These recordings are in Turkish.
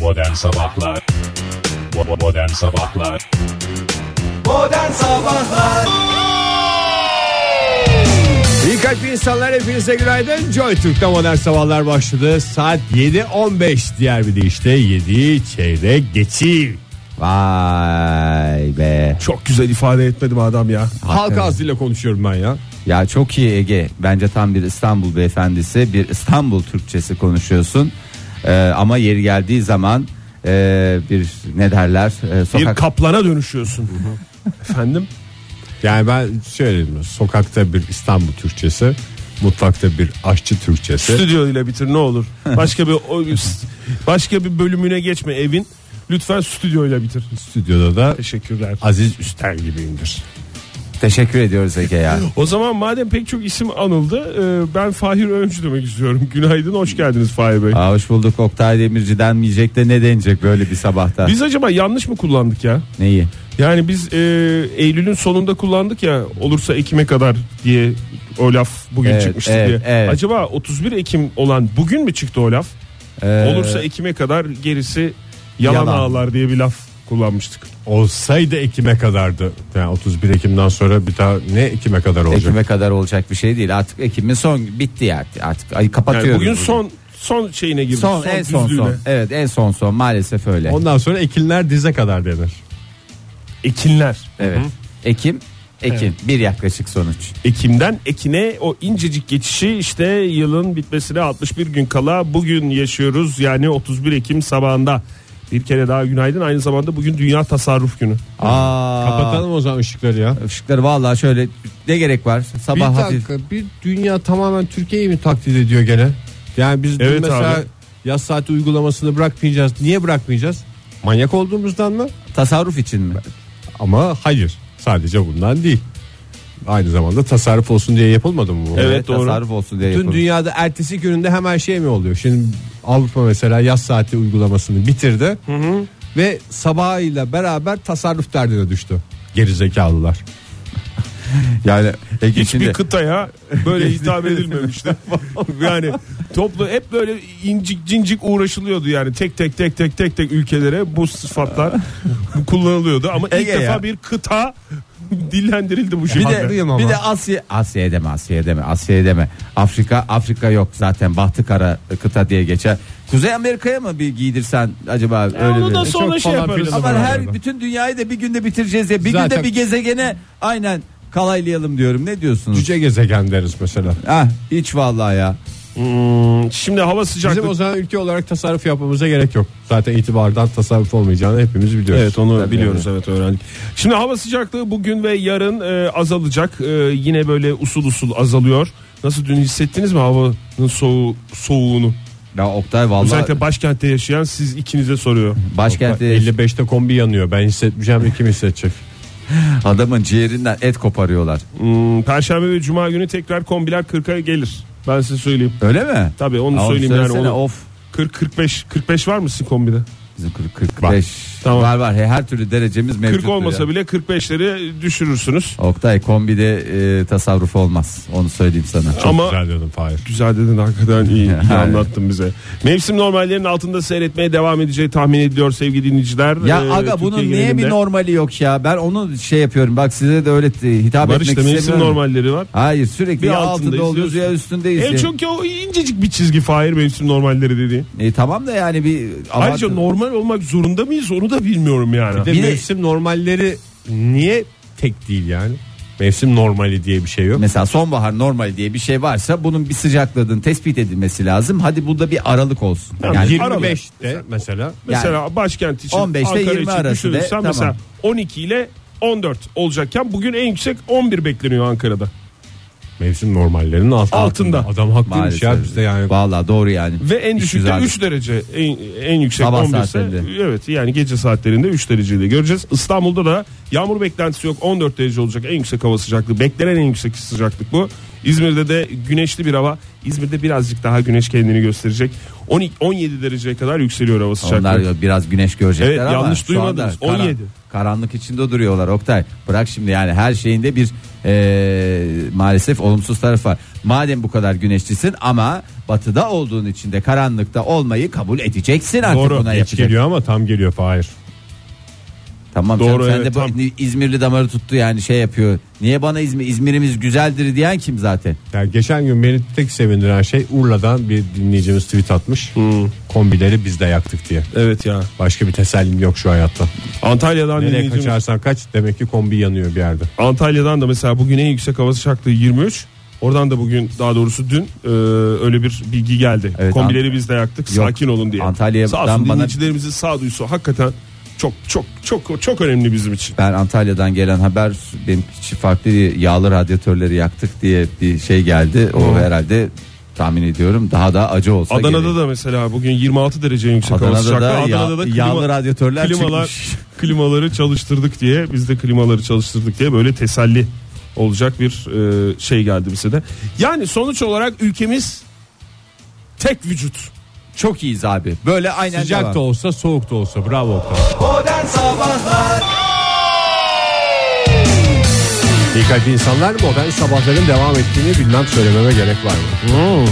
Modern Sabahlar Bo- Modern Sabahlar Modern Sabahlar İyi kalpli insanlar hepinize günaydın Joy Türk'te modern sabahlar başladı Saat 7.15 diğer bir deyişle 7 çeyrek geçiyor Vay be. Çok güzel ifade etmedim adam ya Halk ağzıyla konuşuyorum ben ya Ya çok iyi Ege. Bence tam bir İstanbul beyefendisi, bir İstanbul Türkçesi konuşuyorsun. Ee, ama yeri geldiği zaman e, bir ne derler? E, Bir sokak kaplana dönüşüyorsun. Efendim? Yani ben söyleyeyim sokakta bir İstanbul Türkçesi Mutfakta bir aşçı Türkçesi Stüdyo ile bitir ne olur. Başka bir o- başka bir bölümüne geçme evin. Lütfen stüdyo ile bitir. Stüdyoda da Teşekkürler. Aziz Üster gibiyimdir teşekkür ediyoruz Ege ya. O zaman madem pek çok isim anıldı, e, ben Fahir Öğüncü demek istiyorum. Günaydın, hoş geldiniz Fahir Bey. Aa, hoş bulduk Oktay Demirci denmeyecek de ne denecek böyle bir sabahta? Biz acaba yanlış mı kullandık ya? Neyi? Yani biz e, Eylül'ün sonunda kullandık ya olursa Ekim'e kadar diye o laf bugün Evet, çıkmıştı evet, diye. evet. Acaba 31 Ekim olan bugün mü çıktı o laf? Ee, Olursa Ekim'e kadar gerisi yalan, Yalan. ağlar diye bir laf kullanmıştık. Olsaydı Ekim'e kadardı Yani 31 Ekim'den sonra bir daha ne Ekim'e kadar olacak Ekim'e kadar olacak bir şey değil. Artık Ekim'in son bitti ya artık. Ay Yani kapatıyoruz. bugün son son şeyine girdik. son, en son düzlüğüne. son. Evet en son son maalesef öyle. Ondan sonra ekinler dize kadar denir Ekinler. evet. Ekim Ekim bir yaklaşık sonuç. Ekim'den Ekine o incecik geçişi işte yılın bitmesine 61 gün kala bugün yaşıyoruz. Yani 31 Ekim sabahında. Bir kere daha günaydın. Aynı zamanda bugün Dünya Tasarruf Günü. Aa. Kapatalım o zaman ışıkları ya Işıkları vallahi şöyle ne gerek var? Bir Sabah hafif. dakika bir dünya tamamen Türkiye'yi mi taklit ediyor gene? Yani biz dün Evet mesela abi. yaz saati uygulamasını bırakmayacağız. Niye bırakmayacağız? Manyak olduğumuzdan mı? Tasarruf için mi? Ama hayır. Sadece bundan değil. Aynı zamanda tasarruf olsun diye yapılmadı mı bu? Evet, doğru. Tasarruf olsun diye Bütün yapılmış. dünyada ertesi gününde hemen şey mi oluyor? Şimdi Avrupa mesela yaz saati uygulamasını bitirdi. Ve sabahıyla beraber tasarruf derdine düştü. Gerizekalılar. Yani Ege Hiçbir şimdi kıtaya böyle hitap edilmemişti. yani toplu hep böyle incik cincik uğraşılıyordu yani tek tek tek tek tek tek ülkelere bu sıfatlar kullanılıyordu ama ilk Ege defa ya. bir kıta dillendirildi bu bir şekilde. de, Haklıyım ama. bir de Asya Asya deme Asya deme Asya deme Afrika Afrika yok zaten bahtı kara kıta diye geçer. Kuzey Amerika'ya mı bir giydirsen acaba öyle onu bir. da sonra Çok şey falan yaparız. filan Ama var her orada. bütün dünyayı da bir günde bitireceğiz ya. Bir Zaten- günde bir gezegene aynen kalaylayalım diyorum. Ne diyorsunuz? Cüce gezegen deriz mesela. Ah hiç vallahi ya. Hmm, şimdi hava sıcaklığı Bizim o zaman ülke olarak tasarruf yapmamıza gerek yok. Zaten itibardan tasarruf olmayacağını hepimiz biliyoruz. Evet onu Tabii, biliyoruz evet öğrendik. Şimdi hava sıcaklığı bugün ve yarın e, azalacak. E, yine böyle usul usul azalıyor. Nasıl dün hissettiniz mi havanın soğu, soğuğunu? Ya Oktay vallahi Özellikle başkentte yaşayan siz ikinize soruyor. başkentte 55'te kombi yanıyor. Ben hissetmeyeceğim kim hissedecek? adamın ciğerinden et koparıyorlar. Hmm, Perşembe ve Cuma günü tekrar kombiler 40'a gelir. Ben size söyleyeyim. Öyle mi? Tabii onu Aa, söyleyeyim yani. söylesene, Onu. Of 40 45 45 var mısın kombide? Bizim 40 45 Tamam. var var He, her türlü derecemiz mevcut. 40 olmasa bile 45'leri düşürürsünüz. Oktay kombide e, tasarruf olmaz. Onu söyleyeyim sana. Çok Ama- güzel dedim Fahir. Güzel dedin hakikaten iyi, iyi Yani. anlattın bize. Mevsim normallerinin altında seyretmeye devam edeceği tahmin ediliyor sevgili dinleyiciler. Ya Ee, aga bunun Türkiye niye genelinde. bir normali yok ya? Ben onu şey yapıyorum. Bak size de öyle t- hitap Barış etmek da mevsim istemiyorum. normalleri var. Hayır sürekli Bir ya altındayız altında oluyoruz ya diyorsun. üstündeyiz. En ya. çok ya o incecik bir çizgi Fahir mevsim normalleri dediği. E, tamam da yani bir Ayrıca abartı- normal olmak zorunda mıyız onu da bilmiyorum yani. Bir de Bir de- mevsim normalleri niye tek değil yani? Mevsim normali diye bir şey yok. Mesela sonbahar normal diye bir şey varsa bunun bir sıcaklığının tespit edilmesi lazım. Hadi burada bir aralık olsun. Tamam, Yani 25'te mesela Mesela başkent için 15 ile Ankara 20 için arası düşünürsen de, tamam. mesela 12 ile 14 olacakken bugün en yüksek 11 bekleniyor Ankara'da. mevsim normallerinin altında. Altında. Adam haklıymış maalesef. ya bizde yani. Vallahi doğru yani. Şey, Ve en Hiç düşükte güzel. 3 derece en, en yüksek Sabah 11 ise saatlerinde. evet yani gece saatlerinde 3 dereceyle göreceğiz. İstanbul'da da yağmur beklentisi yok 14 derece olacak en yüksek hava sıcaklığı beklenen en yüksek sıcaklık bu. İzmir'de de güneşli bir hava İzmir'de birazcık daha güneş kendini gösterecek 12, 17 dereceye kadar yükseliyor hava sıcaklığı. Onlar biraz güneş görecekler Evet, ama yanlış şu anda duymadınız. 17. Karanlık içinde duruyorlar Oktay. Bırak şimdi yani her şeyinde bir e, maalesef olumsuz tarafı var. Madem bu kadar güneşlisin ama batıda olduğun için de karanlıkta olmayı kabul edeceksin artık Doğru. buna Geç yapacak. geliyor ama tam geliyor Fahir. Tamam Doğru, canım, sen evet, de bu tam. İzmirli damarı tuttu yani şey yapıyor. Niye bana İzmir İzmir'imiz güzeldir diyen kim zaten? Yani geçen gün beni tek sevindiren şey Urla'dan bir dinleyicimiz tweet atmış. Hmm. Kombileri biz de yaktık diye. Evet ya. Başka bir tesellim yok şu hayatta. Antalya'dan Nereye dinleyicimiz- kaçarsan kaç demek ki kombi yanıyor bir yerde. Antalya'dan da mesela bugün en yüksek havası şartlığı 23. Oradan da bugün daha doğrusu dün e, öyle bir bilgi geldi. Evet, Kombileri biz de yaktık Yok. sakin olun diye. Antalya'dan Sağ olsun bana- dinleyicilerimizin sağduyusu hakikaten çok çok çok çok önemli bizim için. Ben Antalya'dan gelen haber benim hiç farklı yağlı radyatörleri yaktık diye bir şey geldi. O herhalde tahmin ediyorum daha da acı olsa Adana'da gerek. da mesela bugün 26 derece en yüksek Adana'da havası şartlığı. da ya- Adana'da da klima- yağlı radyatörler çıkmış. klimaları çalıştırdık diye biz de klimaları çalıştırdık diye böyle teselli olacak bir e, şey geldi bize de. Yani sonuç olarak ülkemiz tek vücut. çok iyiyiz abi. Böyle aynen Sıcak devam. da olsa soğuk da olsa bravo Oktay. Dikkatli insanlar modern sabahların devam ettiğini bilmem söylememe gerek var mı?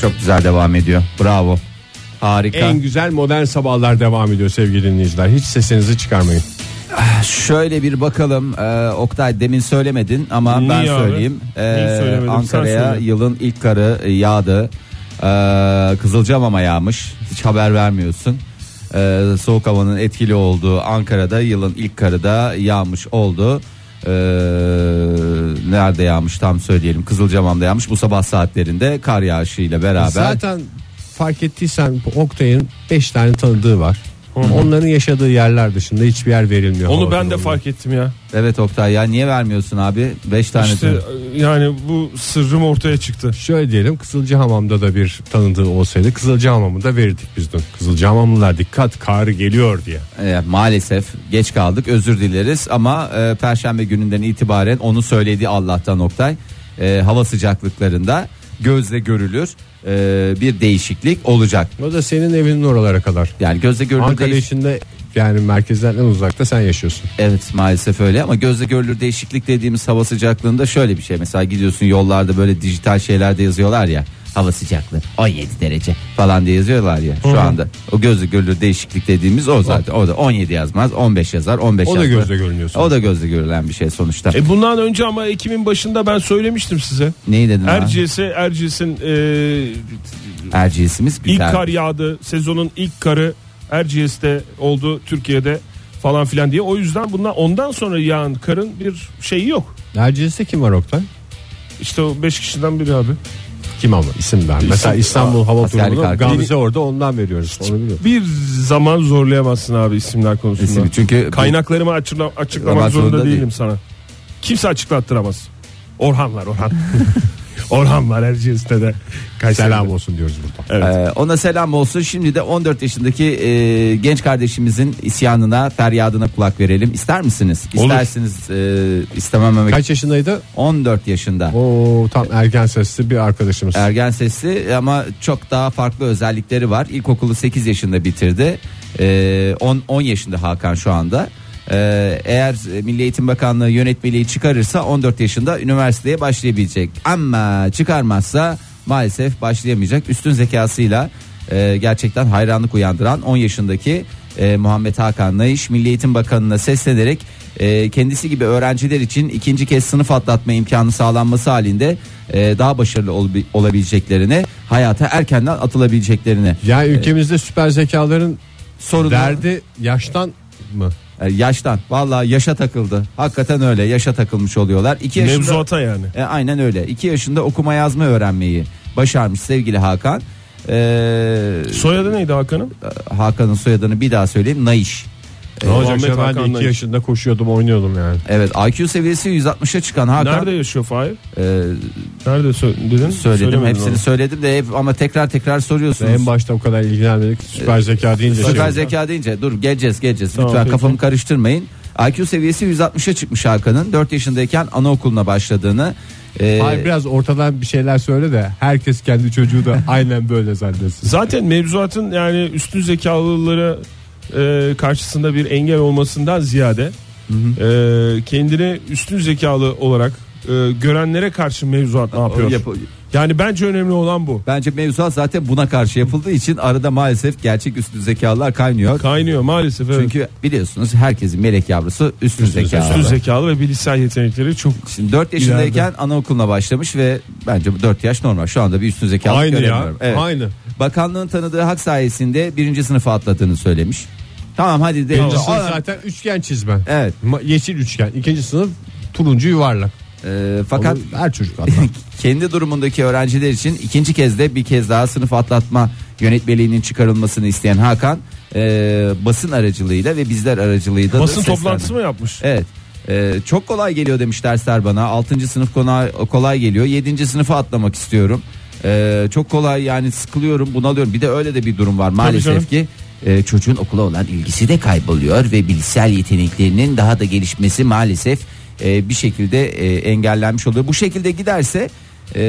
Çok güzel devam ediyor. Bravo. Harika. En güzel modern sabahlar devam ediyor sevgili dinleyiciler. Hiç sesinizi çıkarmayın. Şöyle bir bakalım. Ee, Oktay demin söylemedin ama Niye ben abi? söyleyeyim. E, Neyi söylemedim? Sen Ankara'ya söyle. yılın ilk karı e, yağdı. Ee, Kızılcamama yağmış. Hiç haber vermiyorsun. Ee, soğuk havanın etkili olduğu Ankara'da yılın ilk karı da yağmış oldu. Ee, nerede yağmış tam söyleyelim. Kızılcamam'da yağmış. Bu sabah saatlerinde kar yağışıyla beraber. Zaten fark ettiysen bu Oktay'ın 5 tane tanıdığı var. Onların yaşadığı yerler dışında hiçbir yer verilmiyor. Onu havadan ben de dolayı. fark ettim ya. Evet Oktay ya niye vermiyorsun abi? 5 tane. İşte e, yani bu sırrım ortaya çıktı. Şöyle diyelim Kızılcahamam'da da bir tanıdığı olsaydı Kızılcahamam'ı da verirdik biz dün. Kızılcahamamlılar dikkat kar geliyor diye. E, maalesef geç kaldık özür dileriz ama e, perşembe gününden itibaren onu söyledi Allah'tan Oktay E, hava sıcaklıklarında gözle görülür e, bir değişiklik olacak O da senin evinin oralara kadar. yani gözle görülür Ankara değiş- içinde yani merkezden en uzakta sen yaşıyorsun. evet maalesef öyle ama gözle görülür değişiklik dediğimiz hava sıcaklığında şöyle bir şey mesela gidiyorsun yollarda böyle dijital şeylerde yazıyorlar ya hava sıcaklığı 17 derece falan diye yazıyorlar ya şu anda o gözle görülür değişiklik dediğimiz o zaten o da 17 yazmaz 15 yazar 15 O da yazar. gözle görünüyor sonuçta. o da gözle görülen bir şey sonuçta E bundan önce ama Ekim'in başında ben söylemiştim size. Neyi dedin? abi? Erciyes'e Erciyes'in e, Erciyes'imiz ilk biter. kar yağdı. Sezonun ilk karı Erciyes'te oldu Türkiye'de falan filan diye. O yüzden bundan ondan sonra yağan karın bir şeyi yok. Erciyes'te kim var Oktay? İşte o 5 kişiden biri abi. Kim ama isim ver. Mesela İstanbul Hava askerlik Durumu'nu arkadaşı. Gamze orada ondan veriyoruz. Onu biliyorum. Bir zaman zorlayamazsın abi isimler konusunda. İsim- çünkü bu- Kaynaklarımı açıkla, açıklamak Açıklamak zorunda, zorunda değilim değil. sana. Kimse açıklattıramaz. Orhan var Orhan. Orhan var Erciyes'te de. Kayseri'de. Selam olsun diyoruz buradan. Evet. Ee, ona selam olsun. Şimdi de 14 yaşındaki e, genç kardeşimizin isyanına, feryadına kulak verelim. İster misiniz? Olur. İstersiniz e, istemem ama- Kaç yaşındaydı? 14 yaşında. Oo tam ergen sesli bir arkadaşımız. Ergen sesli ama çok daha farklı özellikleri var. İlkokulu 8 yaşında bitirdi. Ee, 10 10 yaşında Hakan şu anda. Ee, eğer Milli Eğitim Bakanlığı yönetmeliği çıkarırsa 14 yaşında üniversiteye başlayabilecek. Ama çıkarmazsa maalesef başlayamayacak. Üstün zekasıyla e, gerçekten hayranlık uyandıran 10 yaşındaki e, Muhammed Hakan Naiş Milli Eğitim Bakanı'na seslenerek e, kendisi gibi öğrenciler için ikinci kez sınıf atlatma imkanı sağlanması halinde e, daha başarılı olabi- olabileceklerini hayata erkenden atılabileceklerini Yani ülkemizde süper zekaların sorunu derdi yaştan mı? e, yaştan vallahi yaşa takıldı hakikaten öyle yaşa takılmış oluyorlar 2 yaşında Mevzuata yani. E, aynen öyle 2 yaşında okuma yazma öğrenmeyi başarmış sevgili Hakan E, Soyadı neydi Hakan'ın? Hakan'ın soyadını bir daha söyleyeyim Naiş Ne olacak Muhammed ya ben de Hakan'la 2 işte. yaşında koşuyordum oynuyordum yani. Evet IQ seviyesi 160'a çıkan Hakan Nerede yaşıyor Fahir? e, Nerede sö- dedin? Söyledim Söylemedin hepsini onu. söyledim de hep ama tekrar tekrar soruyorsunuz. En başta o kadar ilgilenmedik süper zeka deyince. Süper şey- zeka deyince dur geleceğiz geleceğiz Tamam, lütfen peki. kafamı karıştırmayın. IQ seviyesi 160'a çıkmış Hakan'ın 4 yaşındayken anaokuluna başladığını. e, Hayır biraz ortadan bir şeyler söyle de herkes kendi çocuğu da aynen böyle zannetsin. Zaten mevzuatın yani üstün zekalılara e, karşısında bir engel olmasından ziyade e, kendini üstün zekalı olarak e, görenlere karşı mevzuat ne yapıyor? Yap- Yani bence önemli olan bu. Bence mevzuat zaten buna karşı yapıldığı için arada maalesef gerçek üstün zekalar kaynıyor. Kaynıyor maalesef. evet. Çünkü biliyorsunuz herkesin melek yavrusu üstün zekalı. üstün zekalı ve bilişsel yetenekleri çok Şimdi 4 yaşındayken anaokuluna başlamış ve bence bu 4 yaş normal. Şu anda bir üstün zekalı Aynı ya, göremiyorum. aynı. Bakanlığın tanıdığı hak sayesinde birinci sınıfa atladığını söylemiş. Tamam hadi de. Birinci sınıf Aa, zaten üçgen çizme. Evet. Ma- Yeşil üçgen. İkinci sınıf turuncu yuvarlak. Ee, fakat Onu her çocuk atlar. kendi durumundaki öğrenciler için ikinci kez de bir kez daha sınıf atlatma yönetmeliğinin çıkarılmasını isteyen Hakan e, basın aracılığıyla ve bizler aracılığıyla da basın seslendi. toplantısı mı yapmış? Evet. Ee, çok kolay geliyor demiş dersler bana. 6. sınıf kona- kolay geliyor. 7. sınıfa atlamak istiyorum. Ee, çok kolay yani sıkılıyorum, bunalıyorum. Bir de öyle de bir durum var canım. maalesef ki. e, çocuğun okula olan ilgisi de kayboluyor ve bilişsel yeteneklerinin daha da gelişmesi maalesef e, bir şekilde e, engellenmiş oluyor. Bu şekilde giderse e,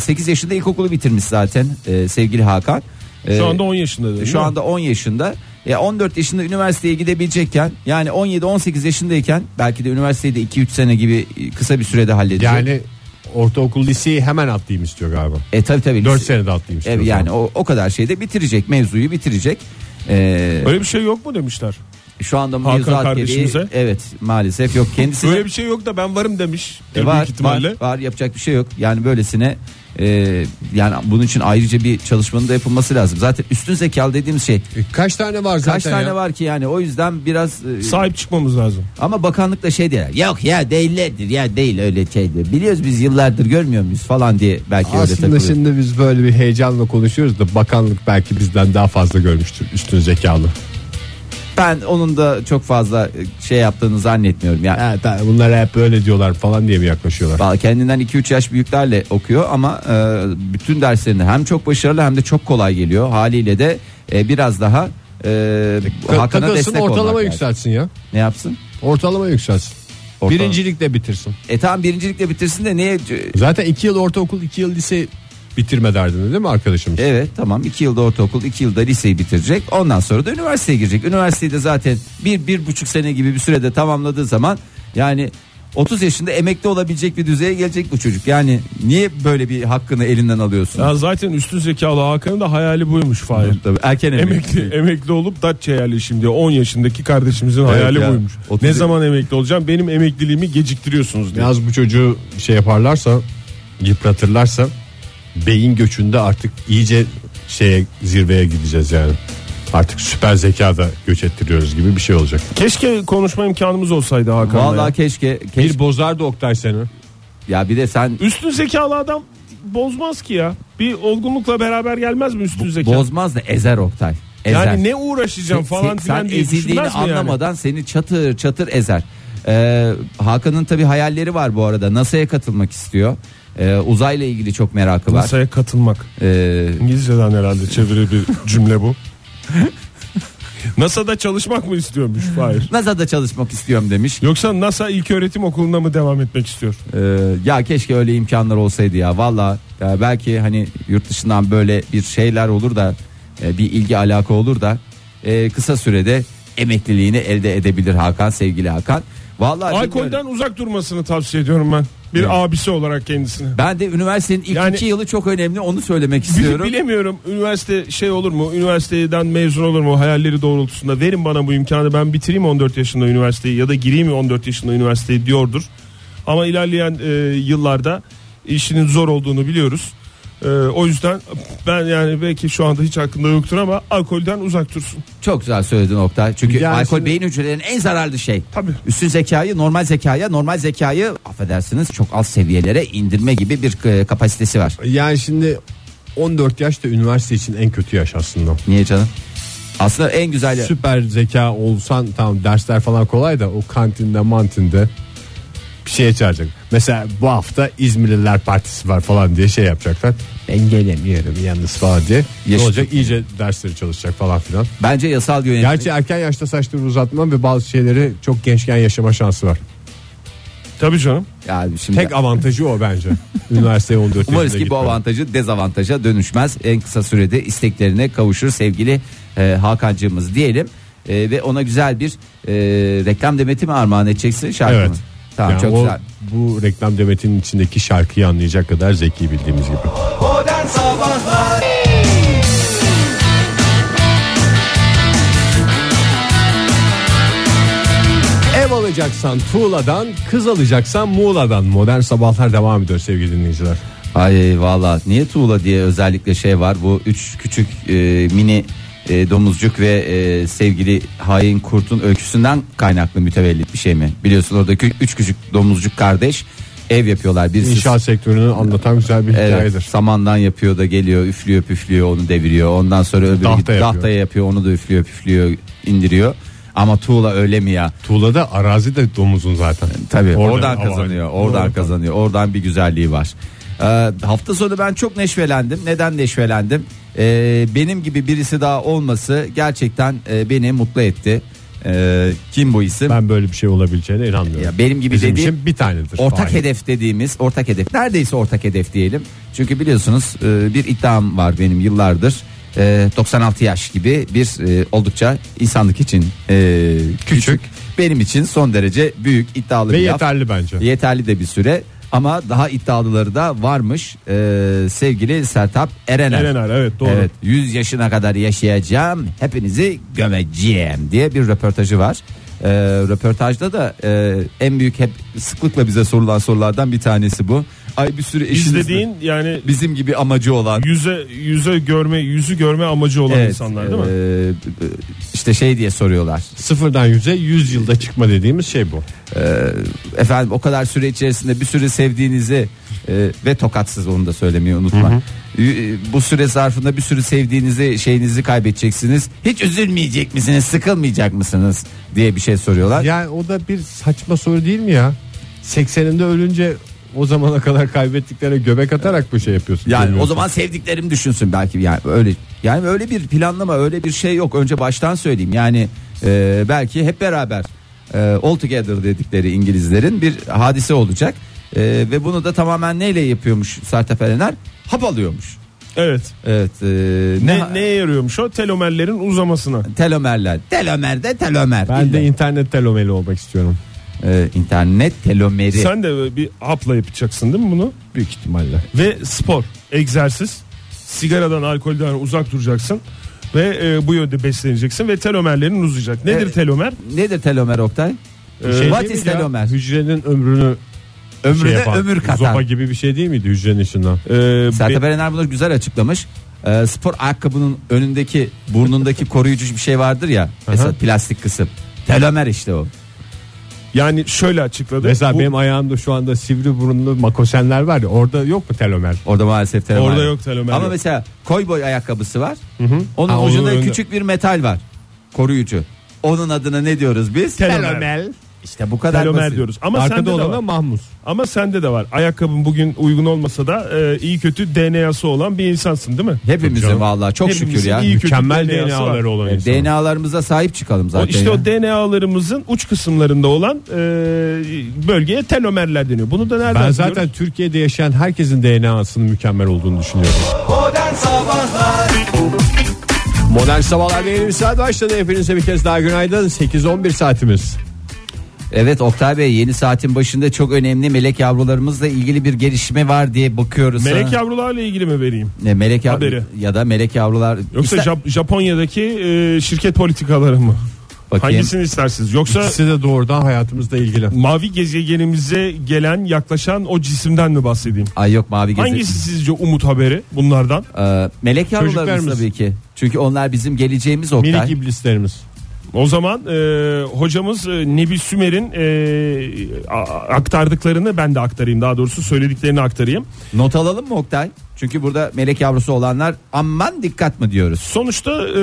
8 yaşında ilkokulu bitirmiş zaten e, sevgili Hakan. Şu E, anda 10 yaşında. değil şu mi? anda 10 yaşında. Ya 14 yaşında üniversiteye gidebilecekken yani 17-18 yaşındayken belki de üniversiteyi de 2-3 sene gibi e, kısa bir sürede halledecek. yani ortaokul liseyi hemen atlayayım istiyor galiba. e tabii tabii. 4 lise- senede atlayayım istiyor. Evet, yani o, o kadar şeyde bitirecek mevzuyu bitirecek. Ee, Böyle bir şey yok mu demişler. şu anda Hakan mevzuat gereği- kardeşimize. evet maalesef yok kendisi Böyle bir şey yok da ben varım demiş. E, büyük var, ihtimalle. var, var yapacak bir şey yok. Yani böylesine e, yani bunun için ayrıca bir çalışmanın da yapılması lazım. Zaten üstün zekalı dediğim şey E, kaç tane var zaten kaç tane ya? var ki yani o yüzden biraz e, Sahip çıkmamız lazım. Ama bakanlık da şey diyorlar. Yok ya değillerdir ya değil öyle şeydir. Biliyoruz biz yıllardır görmüyor muyuz falan diye belki öyle Aslında takılıyor. şimdi biz böyle bir heyecanla konuşuyoruz da bakanlık belki bizden daha fazla görmüştür üstün zekalı. Ben onun da çok fazla e, şey yaptığını zannetmiyorum. Yani Evet, bunlar hep böyle diyorlar falan diye mi yaklaşıyorlar? Vallahi kendinden 2-3 yaş büyüklerle okuyor ama e, bütün derslerinde hem çok başarılı hem de çok kolay geliyor. Haliyle de e, biraz daha e, Hakan'a Takılsın destek olmak ortalama lazım. yükselsin ya. Ne yapsın? Ortalama yükselsin. Ortalama. Birincilikle bitirsin. E tamam birincilikle bitirsin de niye? c- Zaten 2 yıl ortaokul 2 yıl lise bitirme derdinde değil mi arkadaşımız? Evet tamam 2 yılda ortaokul 2 yılda liseyi bitirecek ondan sonra da üniversiteye girecek. Üniversiteyi de zaten bir, bir buçuk sene gibi bir sürede tamamladığı zaman yani 30 yaşında emekli olabilecek bir düzeye gelecek bu çocuk. Yani niye böyle bir hakkını elinden alıyorsun? Ya zaten üstün zekalı Hakan'ın da hayali buymuş Fahir. Tabii, erken emekli. Emekli emekli olup Datça yerleşim diye 10 yaşındaki kardeşimizin hayali ya. buymuş. Otuz- Ne zaman emekli olacağım? Benim emekliliğimi geciktiriyorsunuz diye. Yalnız bu çocuğu şey yaparlarsa yıpratırlarsa beyin göçünde artık iyice şeye zirveye gideceğiz yani. Artık süper zeka da göç ettiriyoruz gibi bir şey olacak. Keşke konuşma imkanımız olsaydı Hakan'la. Vallahi ya. keşke, keşke Bir bozardı Oktay seni. ya bir de sen Üstün zekalı adam bozmaz ki ya. Bir olgunlukla beraber gelmez mi üstün zeka? bozmaz da ezer Oktay. Ezer. yani ne uğraşacağım falan Sen- sen filan diye ezildiğini düşünmez mi yani? anlamadan seni çatır çatır ezer. Ee, Hakan'ın tabi hayalleri var bu arada. NASA'ya katılmak istiyor. Ee, uzayla ilgili çok merakı var. Masaya katılmak. Ee, İngilizceden herhalde çeviri bir cümle bu. NASA'da çalışmak mı istiyormuş Fahir? NASA'da çalışmak istiyorum demiş. Yoksa NASA ilköğretim okuluna mı devam etmek istiyor? Ee, ya keşke öyle imkanlar olsaydı ya. Valla ya belki hani yurt dışından böyle bir şeyler olur da e, bir ilgi alaka olur da e, kısa sürede emekliliğini elde edebilir Hakan sevgili Hakan. Vallahi bilmiyorum. Alkolden uzak durmasını tavsiye ediyorum ben. Bir abisi olarak kendisine. ben de üniversitenin ilk Yani- iki yılı çok önemli onu söylemek istiyorum. Bilemiyorum üniversite şey olur mu? Üniversiteden mezun olur mu? Hayalleri doğrultusunda verin bana bu imkanı ben bitireyim 14 yaşında üniversiteyi ya da gireyim 14 yaşında üniversiteyi diyordur. Ama ilerleyen e, yıllarda işinin zor olduğunu biliyoruz. E, o yüzden ben yani belki şu anda hiç aklımda yoktur ama alkolden uzak dursun. Çok güzel söyledin Oktay. Çünkü Yani alkol şimdi- beyin hücrelerinin en zararlı şey. Tabii. Üstün zekayı normal zekaya, normal zekayı affedersiniz çok alt seviyelere indirme gibi bir e, kapasitesi var. Yani şimdi 14 yaş da üniversite için en kötü yaş aslında. Niye canım? Aslında en güzel Süper zeka olsan tamam dersler falan kolay da o kantinde mantinde bir şeye çağıracak. Mesela bu hafta İzmirliler Partisi var falan diye şey yapacaklar. Ben gelemiyorum yalnız falan diye. Ne Yaşı olacak iyice dersleri çalışacak falan filan. bence yasal yönetim. Gerçi erken yaşta saçları uzatma ve bazı şeyleri çok gençken yaşama şansı var. Tabii canım. Yani şimdi Tek avantajı o bence. Üniversiteye 14 yaşında umarız ki bu gitmek. avantajı dezavantaja dönüşmez. En kısa sürede isteklerine kavuşur sevgili e, Hakan'cığımız diyelim. e, ve ona güzel bir e, reklam demeti mi armağan edeceksin şarkı Evet. mı? Tamam Yani çok o- güzel. Bu reklam demetinin içindeki şarkıyı anlayacak kadar zeki bildiğimiz gibi. Ev alacaksan Tuğla'dan, kız alacaksan Muğla'dan. Modern sabahlar devam ediyor sevgili dinleyiciler. Ay valla niye tuğla diye özellikle şey var bu üç küçük e, mini e, domuzcuk ve e, sevgili hain kurtun öyküsünden kaynaklı mütevellit bir şey mi? Biliyorsun orada kü- üç küçük domuzcuk kardeş ev yapıyorlar. Birisi İnşaat sektörünü anlatan güzel bir Evet, hikayedir. samandan yapıyor da geliyor üflüyor püflüyor onu deviriyor. Ondan sonra öbürü Tahta gidip yapıyor. tahtaya yapıyor onu da üflüyor püflüyor indiriyor. Ama tuğla öyle mi ya? Tuğla'da arazi de domuzun zaten. E, Tabii Orada oradan hava- kazanıyor. Oradan kazanıyor. Oradan bir güzelliği var. Ee, hafta sonu ben çok neşvelendim. Neden neşvelendim? Ee, benim gibi birisi daha olması gerçekten e, beni mutlu etti. Ee, kim bu isim? Ben böyle bir şey olabileceğine inanmıyorum. Ya benim gibi Bizim dediğim- için bir tanedir. Ortak Fahir. hedef dediğimiz ortak hedef neredeyse ortak hedef diyelim. Çünkü biliyorsunuz e, bir iddiam var benim yıllardır. E, 96 yaş gibi bir e, oldukça insanlık için e, küçük benim için son derece büyük iddialı Ve bir laf. yeterli bence. Yeterli de bir süre ama daha iddialıları da varmış Ee, sevgili Sertap Erener. Erener, evet, doğru. Evet, 100 yaşına kadar yaşayacağım hepinizi gömeceğim diye bir röportajı var. Ee, röportajda da e, en büyük hep sıklıkla bize sorulan sorulardan bir tanesi bu. Ay bir sürü eşiniz mi? İzlediğin yani bizim gibi amacı olan yüze yüze görme yüzü görme amacı olan insanlar değil mi? e, işte şey diye soruyorlar. Sıfırdan yüze 100 yılda çıkma dediğimiz şey bu. efendim o kadar süre içerisinde bir sürü sevdiğinizi e, ve tokatsız onu da söylemeyi unutma. Y- e, Bu süre zarfında bir sürü sevdiğinizi şeyinizi kaybedeceksiniz. Hiç üzülmeyecek misiniz? Sıkılmayacak mısınız? diye bir şey soruyorlar. Yani o da bir saçma soru değil mi ya? 80'inde ölünce o zamana kadar kaybettiklerine göbek atarak bu şey yapıyorsun. yani o Bilmiyorum. zaman sevdiklerim düşünsün belki yani öyle yani öyle bir planlama öyle bir şey yok önce baştan söyleyeyim yani e, belki hep beraber e, all together dedikleri İngilizlerin bir hadise olacak E, ve bunu da tamamen neyle yapıyormuş Sertab Erener hap alıyormuş Evet. Evet. e, Ne neye yarıyormuş o? Telomerlerin uzamasına. Telomerler. Telomer de telomer. ben de İlla. internet telomeli olmak istiyorum. E, internet telomeri. Sen de bir hapla yapacaksın değil mi bunu? Büyük ihtimalle. Ve spor, egzersiz, sigaradan, alkolden uzak duracaksın ve e, bu yönde besleneceksin ve telomerlerin uzayacak. Nedir Evet. telomer? Nedir telomer Oktay? Ee, Şey What değil is miydi ya? telomer? Hücrenin ömrüne Ömrüne şey yapan, ömür katan. Zopa gibi bir şey değil miydi hücrenin içinden? Ee, Sertab be- Erener bunu güzel açıklamış. E, spor ayakkabının önündeki burnundaki koruyucu bir şey vardır ya. Mesela plastik kısım. Telomer işte o. yani şöyle açıkladı. Mesela Bu- benim ayağımda şu anda sivri burunlu makosenler var ya orada yok mu telomer? Orada maalesef telomer. Orada yok telomer Ama yok. mesela koy boy ayakkabısı var. Onun Ha, onun ucunda önünde. küçük bir metal var. Koruyucu. Onun adına ne diyoruz biz? Telomer. İşte bu kadar telomer basit. diyoruz. Ama sende Arkada de var. olana mahmuz. Ama sende de var. Ayakkabın bugün uygun olmasa da e, iyi kötü DNA'sı olan bir insansın değil mi? Hepimizin canım. vallahi çok şükür Hepimizin ya. iyi kötü Mükemmel DNA'sı var. DNA'ları olan insan. DNA'larımıza sahip çıkalım O, zaten. işte ya. o DNA'larımızın uç kısımlarında olan e, bölgeye telomerler deniyor. Bunu da nereden Ben biliyoruz? zaten Türkiye'de yaşayan herkesin DNA'sının mükemmel olduğunu düşünüyorum. Modern Sabahlar yeni bir saat başladı. Hepinize bir kez daha günaydın. 8-11 saatimiz. Evet Oktay Bey yeni saatin başında çok önemli melek yavrularımızla ilgili bir gelişme var diye bakıyoruz. Melek sana. yavrularla ilgili mi vereyim? Ne, melek yavru Haberi. ya da melek yavrular. Yoksa İster- Jap- Japonya'daki e, şirket politikaları mı? Bakayım. Hangisini istersiniz? Yoksa İkisi de doğrudan hayatımızla ilgili. mavi gezegenimize gelen yaklaşan o cisimden mi bahsedeyim? Ay yok mavi gezegen. Hangisi sizce umut haberi bunlardan? Ee, melek yavrularımız Çocuklarımız. tabii ki. Çünkü onlar bizim geleceğimiz Oktay. Minik iblislerimiz. O zaman e, hocamız e, Nebil Sümer'in e, a- aktardıklarını ben de aktarayım. Daha doğrusu söylediklerini aktarayım. Not alalım mı Oktay? Çünkü burada melek yavrusu olanlar aman dikkat mı diyoruz? Sonuçta e,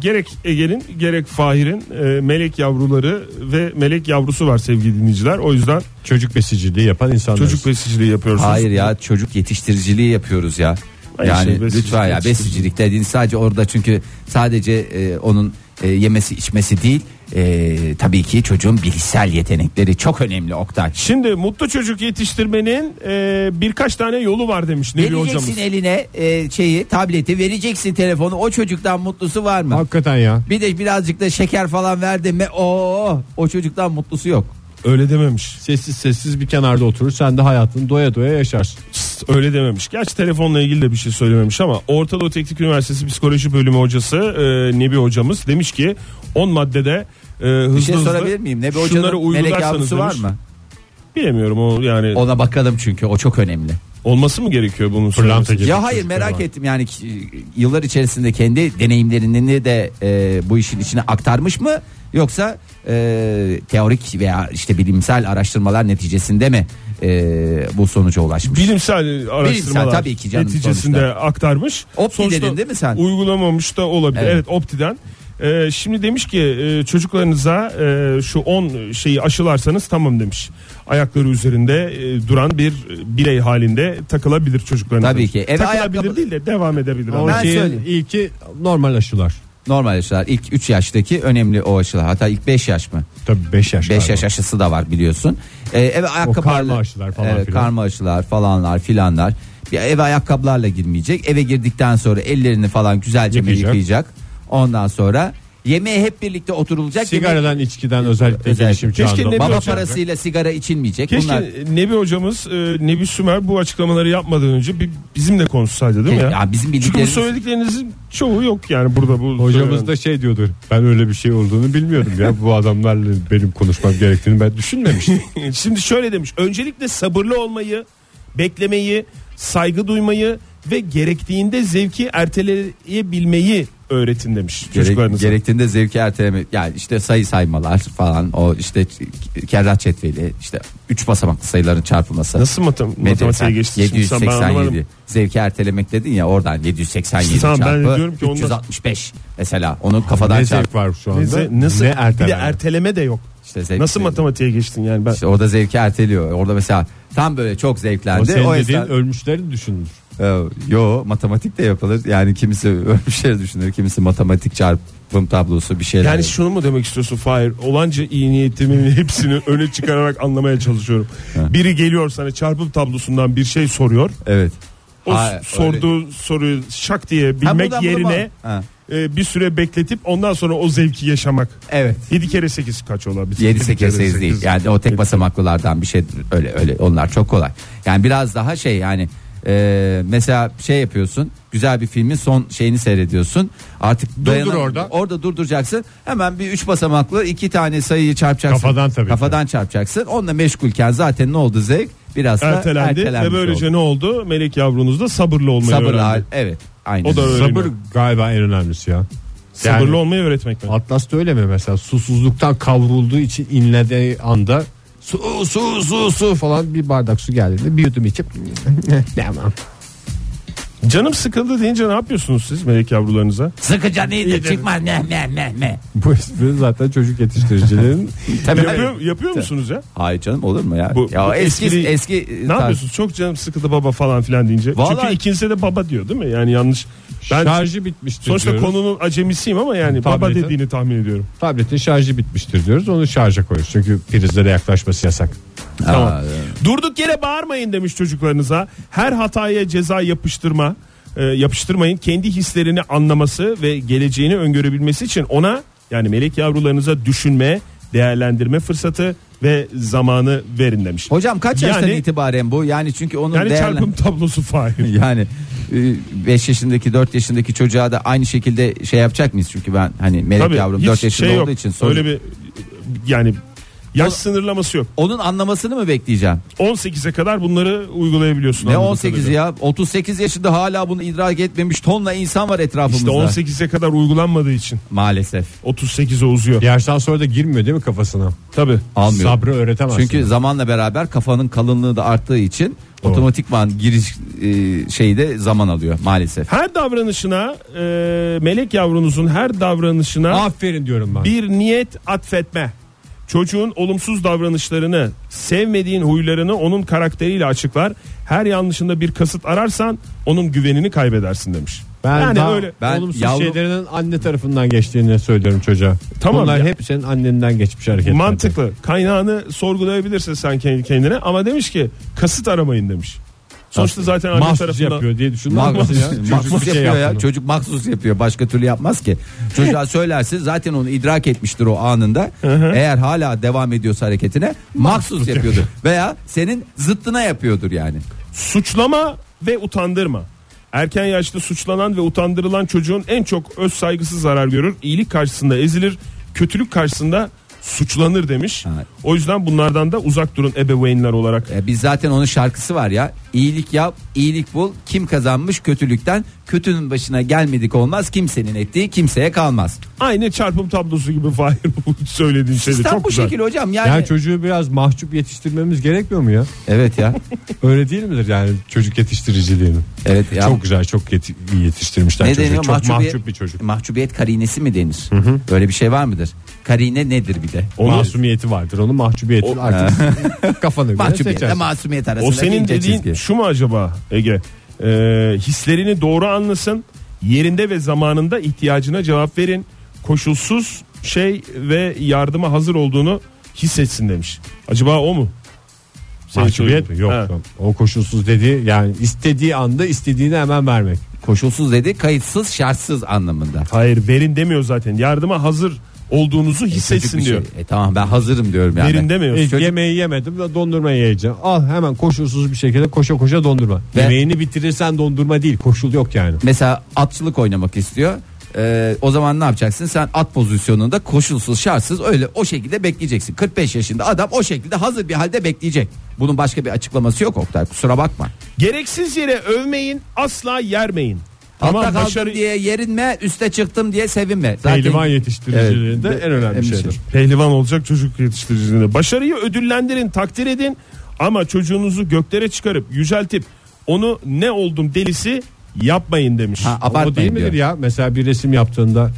gerek Ege'nin gerek Fahir'in e, melek yavruları ve melek yavrusu var sevgili dinleyiciler. O yüzden Çocuk besiciliği yapan insanlar. çocuk besiciliği yapıyorsunuz. Hayır ya çocuk yetiştiriciliği yapıyoruz ya. Ay yani şey, besicilik, lütfen ya yetiştiricilik. besicilik dediğin sadece orada çünkü sadece e, onun e, yemesi içmesi değil. E, tabii ki çocuğun bilişsel yetenekleri çok önemli Oktay. Şimdi mutlu çocuk yetiştirmenin e, birkaç tane yolu var demiş Nevi hocamız. Vereceksin eline e, şeyi tableti vereceksin telefonu o çocuktan mutlusu var mı? Hakikaten ya. Bir de birazcık da şeker falan verdi mi o o çocuktan mutlusu yok. Öyle dememiş. Sessiz sessiz bir kenarda oturur. Sen de hayatını doya doya yaşarsın. Pst, öyle dememiş. Gerçi telefonla ilgili de bir şey söylememiş ama Orta Doğu Teknik Üniversitesi Psikoloji Bölümü hocası e, Nebi hocamız demiş ki 10 maddede e, hızlı Bir şey hızlı sorabilir miyim? Ne bir şunları hocanın melek uygularsanız yavrusu var demiş. mı? Bilemiyorum o yani Ona bakalım çünkü o çok önemli. olması mı gerekiyor bunun Pırlanta söylemesi? gibi. Ya hayır çocuklar merak var. ettim yani ki- yıllar içerisinde kendi deneyimlerini de e, bu işin içine aktarmış mı yoksa e, teorik veya işte bilimsel araştırmalar neticesinde mi e, bu sonuca ulaşmış? Bilimsel araştırmalar tabii ki canım neticesinde sonuçta. aktarmış. Opti Sonuçta dedin değil mi sen? Uygulamamış da olabilir. Evet, Evet. Opti'den. E, şimdi demiş ki e, çocuklarınıza e, şu 10 şeyi aşılarsanız tamam demiş. Ayakları üzerinde e, duran bir birey halinde takılabilir çocuklarınız. Tabii demiş. ki. Eve Takılabilir ayakkabı- değil de devam edebilir. O Ben şeyin söyleyeyim. ilki normal aşılar. Normal aşılar ilk 3 yaştaki önemli o aşılar hatta ilk 5 yaş mı? Tabii 5 yaş. 5 galiba. yaş aşısı da var biliyorsun. Ee, eve ayakkabı karma aşılar falan filan. Karma aşılar falanlar filanlar. Bir eve ayakkabılarla girmeyecek. Eve girdikten sonra ellerini falan güzelce yıkayacak. Yıkayacak. Ondan sonra yemeğe hep birlikte oturulacak. Yemek- Sigaradan içkiden özellikle Özellikle. gelişim Keşke çağında. ne olan- Baba olacak? parasıyla sigara içilmeyecek. Keşke Bunlar Nebi hocamız, e, Nebi Sümer bu açıklamaları yapmadan önce bir bizimle konuşsaydı değil mi ya? Ya bizim Çünkü bu bildiklerimiz söylediklerinizin çoğu yok yani burada bu Hocamız söylenen. da şey diyordur. Ben öyle bir şey olduğunu bilmiyordum ya. Bu adamlarla benim konuşmam gerektiğini ben düşünmemiştim. Şimdi şöyle demiş. Öncelikle sabırlı olmayı, beklemeyi, saygı duymayı ve gerektiğinde zevki erteleyebilmeyi öğretin demiş Gerek, çocuklarınıza. gerektiğinde zevki erteleme yani işte sayı saymalar falan o işte k- kerrat cetveli işte 3 basamaklı sayıların çarpılması. Nasıl matem Medya- matematiğe geçti? Şimdi sen- ben anlamadım. 787. Zevki ertelemek dedin ya oradan 787 İşte tamam, ben çarpı de diyorum ki ondan- 365 mesela onun kafadan ne çarp. zevk var şu anda? Ne ze- nasıl, ne bir de erteleme? erteleme de yok. İşte zevk- Nasıl matematiğe geçtin yani ben? İşte orada zevki erteliyor. Orada mesela tam böyle çok o zevklendi. senin O dediğin esna... ölmüşlerin düşünülür. Ee, yo matematik de yapılır. Yani kimisi ölmüşleri düşünür, kimisi matematik çarpım tablosu bir şeyler. yani şunu mu demek istiyorsun Fahir? Olanca iyi niyetimin hepsini öne çıkararak anlamaya çalışıyorum. Biri geliyor sana çarpım tablosundan bir şey soruyor. Evet. O Ha, s- sorduğu soruyu şak diye Ha, bilmek buradan bunu yerine bak. Ha. e, bir süre bekletip ondan sonra o zevki yaşamak. Evet. 7 kere 8 kaç olabilir? 7 Yedi 8 kere 8 değil. sekiz. Yani o tek basamaklılardan bir şey öyle öyle onlar çok kolay. Yani biraz daha şey yani e, mesela şey yapıyorsun. Güzel bir filmin son şeyini seyrediyorsun. Artık dayanam- orada. Orada durduracaksın. Hemen bir üç basamaklı iki tane sayıyı çarpacaksın. Kafadan tabii ki. Kafadan çarpacaksın. Onunla meşgulken zaten ne oldu zevk? Biraz da Ertelendi ve ertelenmiş böylece oldu. ne oldu? Melek yavrunuz da sabırlı olmayı sabırlı hal. öğrendi. Evet. Aynen. O da öyle. Sabır Öğreniyor. galiba en önemlisi ya. Sabırlı Yani- olmayı öğretmek mi? Atlas'ta öyle mi mesela susuzluktan kavrulduğu için inlediği anda su su su su falan bir bardak su geldiğinde bir yudum içip tamam. Canım sıkıldı deyince ne yapıyorsunuz siz melek yavrularınıza? Sıkıca neydi? Çıkmaz ne ne ne ne. Bu espri zaten çocuk yetiştiricilerin Tabii. Yapıyor, yapıyor musunuz ya? Hayır canım olur mu ya? Bu- ya bu eski eski, espri- Ne tar- yapıyorsunuz? Çok canım sıkıldı baba falan filan deyince. Vallahi- Çünkü ikinize de baba diyor değil mi? Yani yanlış. Ben şarjı bitmiştir sonuçta diyoruz. konunun acemisiyim ama yani baba Tabletin. dediğini tahmin ediyorum. Tabletin şarjı bitmiştir diyoruz. Onu şarja koyuyoruz. Çünkü prizlere yaklaşması yasak. Tamam. Aa, evet. Durduk yere bağırmayın demiş çocuklarınıza. Her hataya ceza yapıştırma e, yapıştırmayın. Kendi hislerini anlaması ve geleceğini öngörebilmesi için ona yani melek yavrularınıza düşünme, değerlendirme fırsatı ve zamanı verin demiş. Hocam kaç Yani- yaştan itibaren bu? Yani çünkü onun yani değerlen- çarpım tablosu fail. yani 5 yaşındaki 4 yaşındaki çocuğa da aynı şekilde şey yapacak mıyız? Çünkü ben hani melek Tabii yavrum hiç 4 yaşında şey yok. olduğu için sorun. Öyle bir yani yaş sınırlaması yok. Onun anlamasını mı bekleyeceğim? 18'e kadar bunları uygulayabiliyorsun. Ne anladığım 18 kadarıyla. ya? 38 yaşında hala bunu idrak etmemiş tonla insan var İşte etrafımızda. 18'e kadar uygulanmadığı için Maalesef. 38'e uzuyor. Bir Yaştan sonra da girmiyor değil mi kafasına? Tabii. Almıyor. Sabrı öğretemezsin. Çünkü zamanla beraber kafanın kalınlığı da arttığı için otomatikman giriş e, şeyi de zaman alıyor maalesef. Her davranışına e, melek yavrunuzun her davranışına Aferin diyorum ben. bir niyet atfetme. Çocuğun olumsuz davranışlarını, sevmediğin huylarını onun karakteriyle açıklar. Her yanlışında bir kasıt ararsan onun güvenini kaybedersin demiş. Ben Yani daha öyle- Ben olumsuz yavrum- şeylerinin anne tarafından geçtiğini söylüyorum çocuğa. Tamam Bunlar ya. hep senin annenden geçmiş hareketler. Mantıklı. Kaynağını sorgulayabilirsin sen kendi kendine ama demiş ki kasıt aramayın demiş. Sonuçta zaten anne Mahsus tarafından yapıyor diye düşünmez misin Maksus, ya? maksus Çocuk bir şey yapıyor ya. yaptı. Çocuk maksus yapıyor. Başka türlü yapmaz ki. Çocuğa söylerse zaten onu idrak etmiştir o anında. Eğer hala devam ediyorsa hareketine maksus yapıyordur. Veya senin zıttına yapıyordur yani. suçlama ve utandırma. Erken yaşta suçlanan ve utandırılan çocuğun en çok öz saygısı zarar görür. İyilik karşısında ezilir, kötülük karşısında suçlanır demiş. Evet. O yüzden bunlardan da uzak durun ebeveynler olarak. E, biz zaten onun şarkısı var ya. İyilik yap, iyilik bul. Kim kazanmış kötülükten? Kötünün başına gelmedik olmaz. Kimsenin ettiği kimseye kalmaz. Aynı çarpım tablosu gibi Fahir bu söylediğin şeyde Sistem çok bu güzel. şekil hocam. Yani, Yani çocuğu biraz mahcup yetiştirmemiz gerekmiyor mu ya? evet ya. Öyle değil midir yani çocuk yetiştiriciliğini? Evet ya. Çok güzel, çok yeti- iyi yetiştirmişler Ne çocuğu. deniyor? Çok mahcup bir çocuk. Mahcubiyet karinesi mi denir? Böyle bir şey var mıdır? Karine nedir bir de? Onu- Masumiyeti vardır. Onun mahcubiyeti artık kafana göre Mahcubiyetle seçersin. masumiyet arasında O senin ince dediğin çizgi. şu mu acaba Ege? Ee, hislerini doğru anlasın, yerinde ve zamanında ihtiyacına cevap verin. Koşulsuz şey ve yardıma hazır olduğunu hissetsin demiş. Acaba o mu? Senin Mahcubiyet mi? söylediğin. Yok. Ha. yok. O koşulsuz dediği yani istediği anda istediğini hemen vermek. Koşulsuz dedi kayıtsız şartsız anlamında. Hayır verin demiyor zaten. Yardıma hazır olduğunuzu Çocuk hissetsin bir diyor. Şey. E tamam ben hazırım diyorum yani. E, Verin demiyor. İlk Çocuk- E, Yemeği yemedim ve dondurma yiyeceğim. Al hemen koşulsuz bir şekilde koşa koşa dondurma. Ve- Yemeğini bitirirsen dondurma değil. Koşul yok yani. Mesela atçılık oynamak istiyor. Ee, o zaman ne yapacaksın? Sen at pozisyonunda koşulsuz şartsız öyle o şekilde bekleyeceksin. 45 yaşında adam o şekilde hazır bir halde bekleyecek. Bunun başka bir açıklaması yok Oktay kusura bakma. Gereksiz yere övmeyin, asla yermeyin. Altta Ama kaldım başarı diye yerinme üste çıktım diye sevinme. Zaten Pehlivan yetiştiriciliğinde Evet. en önemli En bir şeydir. şey. Pehlivan olacak çocuk yetiştiriciliğinde. Başarıyı ödüllendirin, takdir edin ama çocuğunuzu göklere çıkarıp yüceltip onu ne oldum delisi yapmayın demiş. Ha, Ama o değil abartmayın midir diyor. ya? Mesela bir resim yaptığında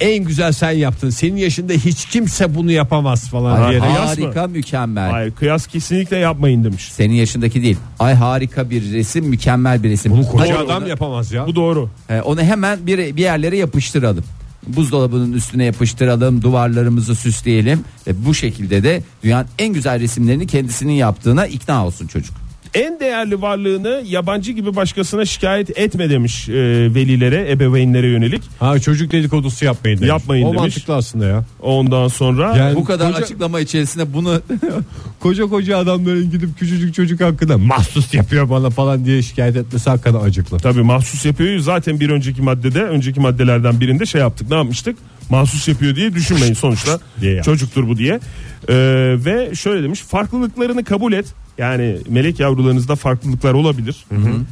en güzel sen yaptın. Senin yaşında hiç kimse bunu yapamaz falan Ay, diyerek. yas mı? harika mükemmel. Hayır kıyas kesinlikle yapmayın demiş. Senin yaşındaki değil. Ay harika bir resim, mükemmel bir resim. Bunu koca Hayır, adam onu- yapamaz ya. Bu doğru. e, onu hemen bir, bir yerlere yapıştıralım. Buzdolabının üstüne yapıştıralım, duvarlarımızı süsleyelim. E, bu şekilde de dünyanın en güzel resimlerini kendisinin yaptığına ikna olsun çocuk. En değerli varlığını yabancı gibi başkasına şikayet etme demiş e, velilere, ebeveynlere yönelik. Ha çocuk dedikodusu yapmayın demiş. Yapmayın o demiş. mantıklı aslında ya. Ondan sonra Yani bu kadar koca- açıklama içerisinde bunu Koca koca adamların gidip küçücük çocuk hakkında mahsus yapıyor bana falan diye şikayet etmesi hakikaten acıklı. Tabii mahsus yapıyor zaten bir önceki maddede önceki maddelerden birinde şey yaptık ne yapmıştık mahsus yapıyor diye düşünmeyin sonuçta Diye yaptık. çocuktur bu diye Ee, ve şöyle demiş farklılıklarını kabul et yani melek yavrularınızda farklılıklar olabilir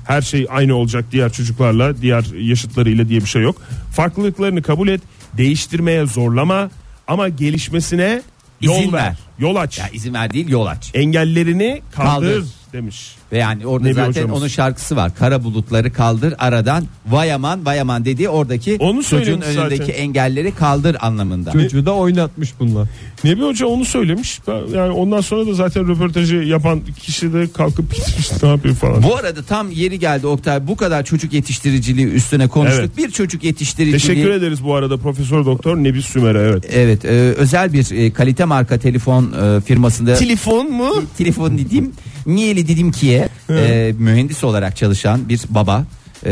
her şey aynı olacak diğer çocuklarla diğer yaşıtlarıyla diye bir şey yok farklılıklarını kabul et değiştirmeye zorlama ama gelişmesine yol İzin ver. ver. yol aç ya izin ver değil yol aç. engellerini kaldır, Kaldır. demiş Ve yani orada Nebi zaten hocamız. onun şarkısı var. Kara bulutları kaldır aradan vayaman vayaman dediği oradaki Onu çocuğun söylemiş önündeki zaten. engelleri kaldır anlamında. Çocuğu da oynatmış bunlar. Nebi Hoca onu söylemiş. Ben- Yani ondan sonra da zaten röportajı yapan kişi de kalkıp gitmiş ne yapıyor falan. Bu arada tam yeri geldi Oktay. Bu kadar çocuk yetiştiriciliği üstüne konuştuk. Evet. Bir çocuk yetiştiriciliği Teşekkür ederiz bu arada Profesör Doktor Nebi Sümer'e evet. Evet, e, özel bir e, kalite marka telefon e, firmasında Telefon mu? telefon dediğim niyeli dedim ki e, mühendis olarak çalışan bir baba. E,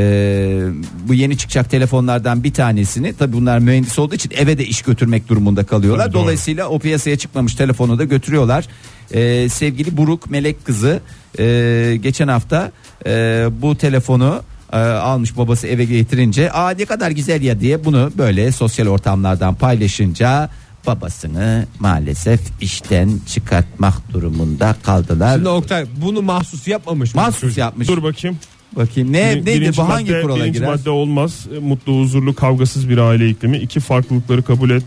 bu yeni çıkacak telefonlardan bir tanesini tabi bunlar mühendis olduğu için eve de iş götürmek durumunda kalıyorlar. Tabii, doğru. Dolayısıyla o piyasaya çıkmamış telefonu da götürüyorlar. E, sevgili Buruk Melek kızı e, geçen hafta e, bu telefonu e, almış babası eve getirince aa ne kadar güzel ya diye bunu böyle sosyal ortamlardan paylaşınca babasını maalesef işten çıkartmak durumunda kaldılar. Şimdi Oktay bunu mahsus yapmamış mı? Mahsus yapmış. Dur bakayım. Bakayım ne Bir- neydi birinci bu hangi madde- kurala birinci girer? madde olmaz. E, Mutlu, huzurlu, kavgasız bir aile iklimi. İki farklılıkları kabul et.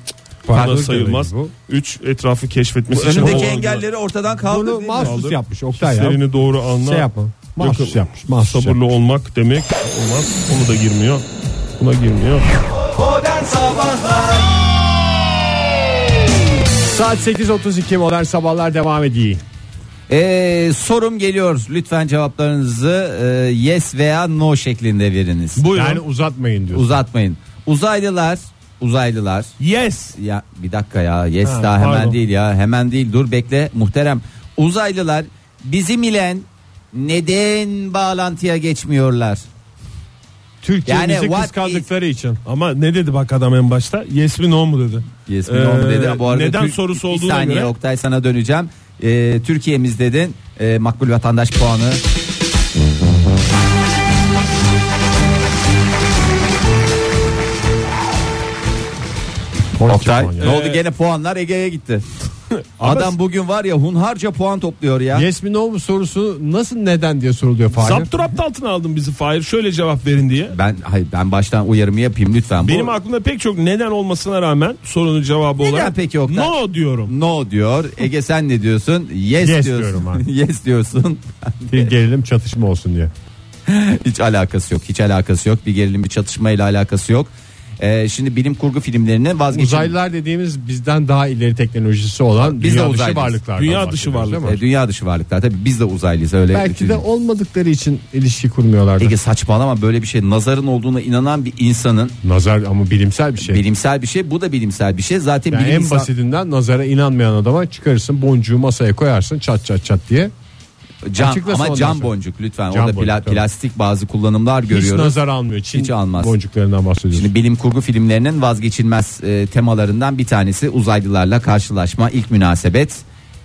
Buna Farklılık sayılmaz. demek bu. Üç etrafı Bu keşfetmesi için. önündeki olan- engelleri ortadan kaldır. Bunu değil mi? mahsus Kaldır. yapmış Oktay ya. Hislerini doğru anla. Şey yapma. Mahsus Yok, yapmış. Mahsus Sabırlı olmak demek olmaz. Onu da girmiyor. Buna girmiyor. Saat 8.32 modern sabahlar devam ediyor. Ee, sorum geliyor. Lütfen cevaplarınızı e, yes veya no şeklinde veriniz. Buyurun. Yani uzatmayın diyorsun. Uzatmayın. Uzaylılar, uzaylılar. yes. Ya bir dakika ya. Yes Ha, daha hemen pardon. değil ya. Hemen değil. Dur bekle muhterem. Uzaylılar bizim ilen neden bağlantıya geçmiyorlar? Türkiye Yani bizi what kıskandıkları için. Ama ne dedi bak adam en başta? Yes mi no mu dedi. Yes mi, no mu Ee, dedi. Bu arada neden Türk- sorusu bir olduğuna saniye göre. Oktay sana döneceğim. Ee, Türkiye'miz dedin. Ee, makbul vatandaş puanı. Oktay puan ya. ne Ee, oldu gene puanlar Ege'ye gitti. Adam bugün var ya hunharca puan topluyor ya. Yes mi no mu sorusu nasıl neden diye soruluyor Fahir. Zapturapt altına aldın bizi Fahir. Şöyle cevap verin diye. Ben hayır ben baştan uyarımı yapayım lütfen. Benim Bu, aklımda pek çok neden olmasına rağmen sorunun cevabı Neden olarak peki Oktay? no diyorum. no diyor. Ege sen ne diyorsun? Yes, Yes diyorsun. diyorum abi. yes diyorsun. Bir gerilim çatışma olsun diye. Hiç alakası yok. Hiç alakası yok. Bir gerilim bir çatışmayla alakası yok. Ee, şimdi bilim kurgu filmlerine vazgeçin. Uzaylılar dediğimiz bizden daha ileri teknolojisi olan Biz de dünya dışı uzaylıyız. varlıklar. Dünya dışı varlıklar. E, dünya dışı varlıklar. Tabii biz de uzaylıyız öyle. Belki de olmadıkları için ilişki kurmuyorlardı. Ege saçmalama böyle bir şey nazarın olduğuna inanan bir insanın Nazar ama bilimsel bir şey. bilimsel bir şey bu da bilimsel bir şey zaten Yani bilim en insan- basitinden nazara inanmayan adama çıkarırsın boncuğu masaya koyarsın çat çat çat diye. cam Açıklasın ama ondan cam sonra. boncuk lütfen Cam orada boncuk, pla- tabii. plastik bazı kullanımlar Hiç görüyoruz. nazar almıyor. Çin Hiç almaz. boncuklarından bahsediyorsun. Şimdi bilim kurgu filmlerinin vazgeçilmez e, temalarından bir tanesi uzaylılarla karşılaşma ilk münasebet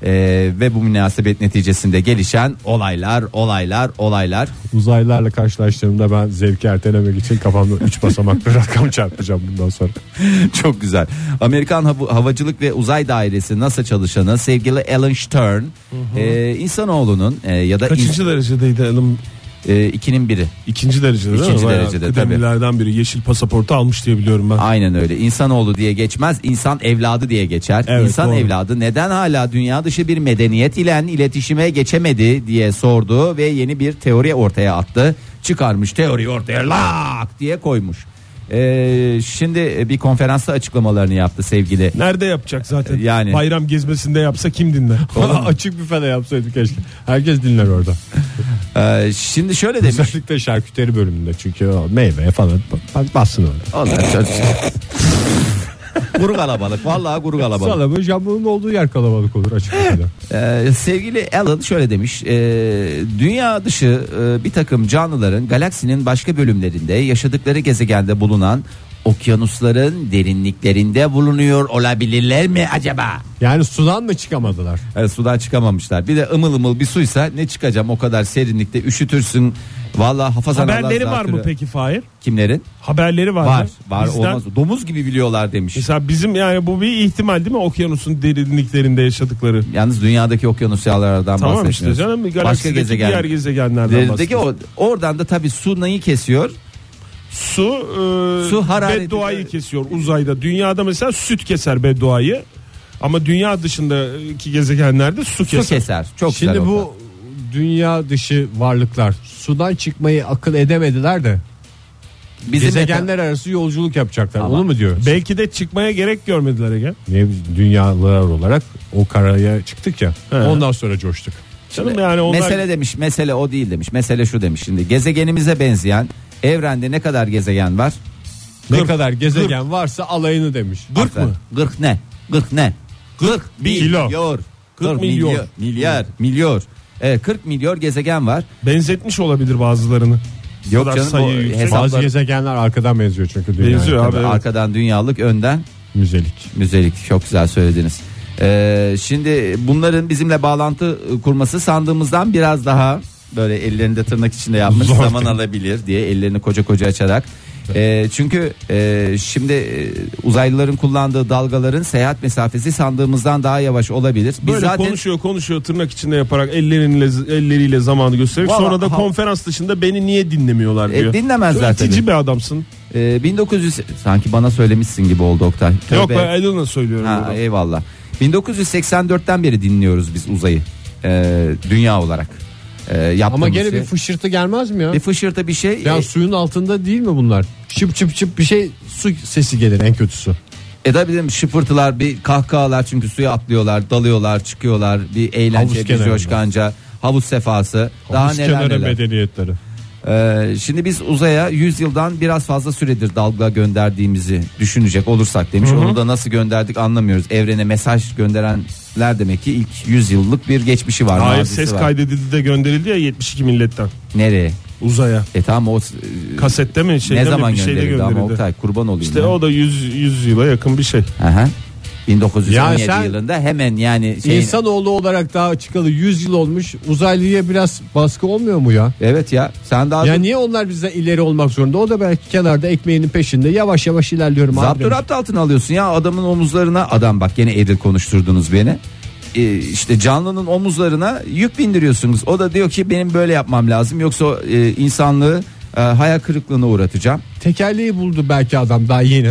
E, ve bu münasebet neticesinde gelişen olaylar olaylar olaylar Uzaylılarla karşılaştığımda ben zevki ertelemek için kafamda 3 basamaklı rakam çarpacağım bundan sonra. çok güzel. Amerikan Hav- Havacılık ve Uzay Dairesi NASA çalışanı sevgili Alan Stern e, insanoğlunun e, ya da Kaçıncı derecedeydi alım? in- e, ikinin biri İkinci derecede değil İkinci mi? Bayağı derecede, kıdemlilerden biri yeşil pasaportu almış diye biliyorum ben. Aynen öyle. İnsanoğlu diye geçmez, insan evladı diye geçer. Evet, insan doğru. evladı neden hala dünya dışı bir medeniyet ile iletişime geçemedi diye sordu ve yeni bir teori ortaya attı. Çıkarmış teoriyi ortaya lak diye koymuş. Ee, şimdi bir konferansta açıklamalarını yaptı sevgili. Nerede yapacak zaten? E, Yani. Bayram gezmesinde yapsa kim dinler? Ona açık bir fena yapsaydık keşke. Herkes dinler orada. Ee, şimdi şöyle demiş. Özellikle şarküteri bölümünde çünkü o meyveye falan bak bassın orada. Onlar Guru kalabalık vallahi guru kalabalık. Salamın jambonun olduğu yer kalabalık olur açık bir Ee, sevgili Alan şöyle demiş. ee, dünya dışı ee, bir takım canlıların galaksinin başka bölümlerinde yaşadıkları gezegende bulunan okyanusların derinliklerinde bulunuyor olabilirler mi acaba? Yani sudan mı çıkamadılar? Evet, sudan çıkamamışlar. Bir de ımıl ımıl bir suysa ne çıkacağım o kadar serinlikte üşütürsün. Vallahi hafazan Haberleri Allah var mı zatürre. peki Fahir? Kimlerin? Haberleri var, Var. mı? Var Bizden- olmaz. Domuz gibi biliyorlar demiş. Mesela bizim yani bu bir ihtimal değil mi? Okyanusun derinliklerinde yaşadıkları. Yalnız dünyadaki okyanus yağlarından Tamam işte bahsetmiyoruz. canım. Galaksideki gezegen. diğer gezegenlerden Derindeki bahsediyoruz. o oradan da tabii su neyi kesiyor? Su, e, Su harareti- bedduayı kesiyor uzayda. Dünyada mesela süt keser bedduayı. Ama dünya dışındaki gezegenlerde su keser. Su keser. Çok Şimdi güzel bu oldu. dünya dışı varlıklar sudan çıkmayı akıl edemediler de Bizim gezegenler arası yolculuk yapacaklar. Ama- Onu mu diyor? Belki de çıkmaya gerek görmediler Ege. Ne dünyalar olarak o karaya çıktık ya. He. Ondan sonra coştuk. Canım yani onlar Mesele demiş mesele o değil demiş. Mesele şu demiş şimdi gezegenimize benzeyen evrende ne kadar gezegen var? ne Gırk, kadar gezegen varsa alayını demiş. Gırk mı? Gırk ne? Gırk ne? Gırk Kilo. milyar. Gırk milyon. milyar. Milyar. Milyar. Evet, 40 milyar gezegen var. benzetmiş olabilir bazılarını. Yok kadar canım, sayı o yüksek. hesap- Bazı Hesaplar- gezegenler arkadan benziyor çünkü dünyaya. Benziyor. Tabii abi, evet. Arkadan dünyalık önden Müzelik. Müzelik çok güzel söylediniz. Ee, şimdi bunların bizimle bağlantı e, kurması sandığımızdan biraz daha böyle ellerinde tırnak içinde yapmış Zor zaman değil. alabilir diye ellerini koca koca açarak. Ee, çünkü e, şimdi e, uzaylıların kullandığı dalgaların seyahat mesafesi sandığımızdan daha yavaş olabilir. Biz Böyle zaten konuşuyor konuşuyor tırnak içinde yaparak elleriyle elleriyle zamanı göstererek Vallahi- sonra da ha- konferans dışında beni niye dinlemiyorlar E, diyor. dinlemezler Çok itici tabii. bir adamsın. e, 1900 sanki bana söylemişsin gibi oldu Oktay. Yok Tövbe. ben Aydın'la söylüyorum. Ha, bunu. eyvallah. 1984'ten beri dinliyoruz biz uzayı. Ee, dünya olarak. Ee, Ama yaptığımız gene şey- bir fışırtı gelmez mi ya? Bir fışırtı bir şey. Ya E, suyun altında değil mi bunlar? Çıp çıp çıp bir şey su sesi gelir en kötüsü. E tabii dedim şıpırtılar bir kahkahalar çünkü suya atlıyorlar dalıyorlar çıkıyorlar bir eğlence Havuz bir kenarında. coşkanca havuz sefası daha Havuz neler kenarı neler. medeniyetleri. Ee, şimdi biz uzaya 100 yıldan biraz fazla süredir dalga gönderdiğimizi düşünecek olursak demiş. Onu da nasıl gönderdik anlamıyoruz. Evrene mesaj gönderenler demek ki ilk 100 yıllık bir geçmişi var. Hayır mazisi ses var. kaydedildi de gönderildi ya 72 milletten. Nereye? Uzaya. E tamam o e, Kasette mi şeyde ne zaman mi, bir şeyde gönderildi ama gönderildi. Oktay kurban olayım. İşte ya. o da 100, 100 yıla yakın bir şey. Aha. 1917 Yani sen- yılında hemen yani şey İnsanoğlu olarak daha çıkalı 100 yıl olmuş. Uzaylıya biraz baskı olmuyor mu ya? Evet ya sen daha Ya niye onlar bizden ileri olmak zorunda? O da belki kenarda ekmeğinin peşinde yavaş yavaş ilerliyorum abi. Zapturapt demiş. altına alıyorsun ya adamın omuzlarına adam bak gene edil konuşturdunuz beni. Ee, işte canlının omuzlarına yük bindiriyorsunuz. O da diyor ki benim böyle yapmam lazım yoksa e, insanlığı e, hayal kırıklığına uğratacağım. Tekerleği buldu belki adam daha yeni.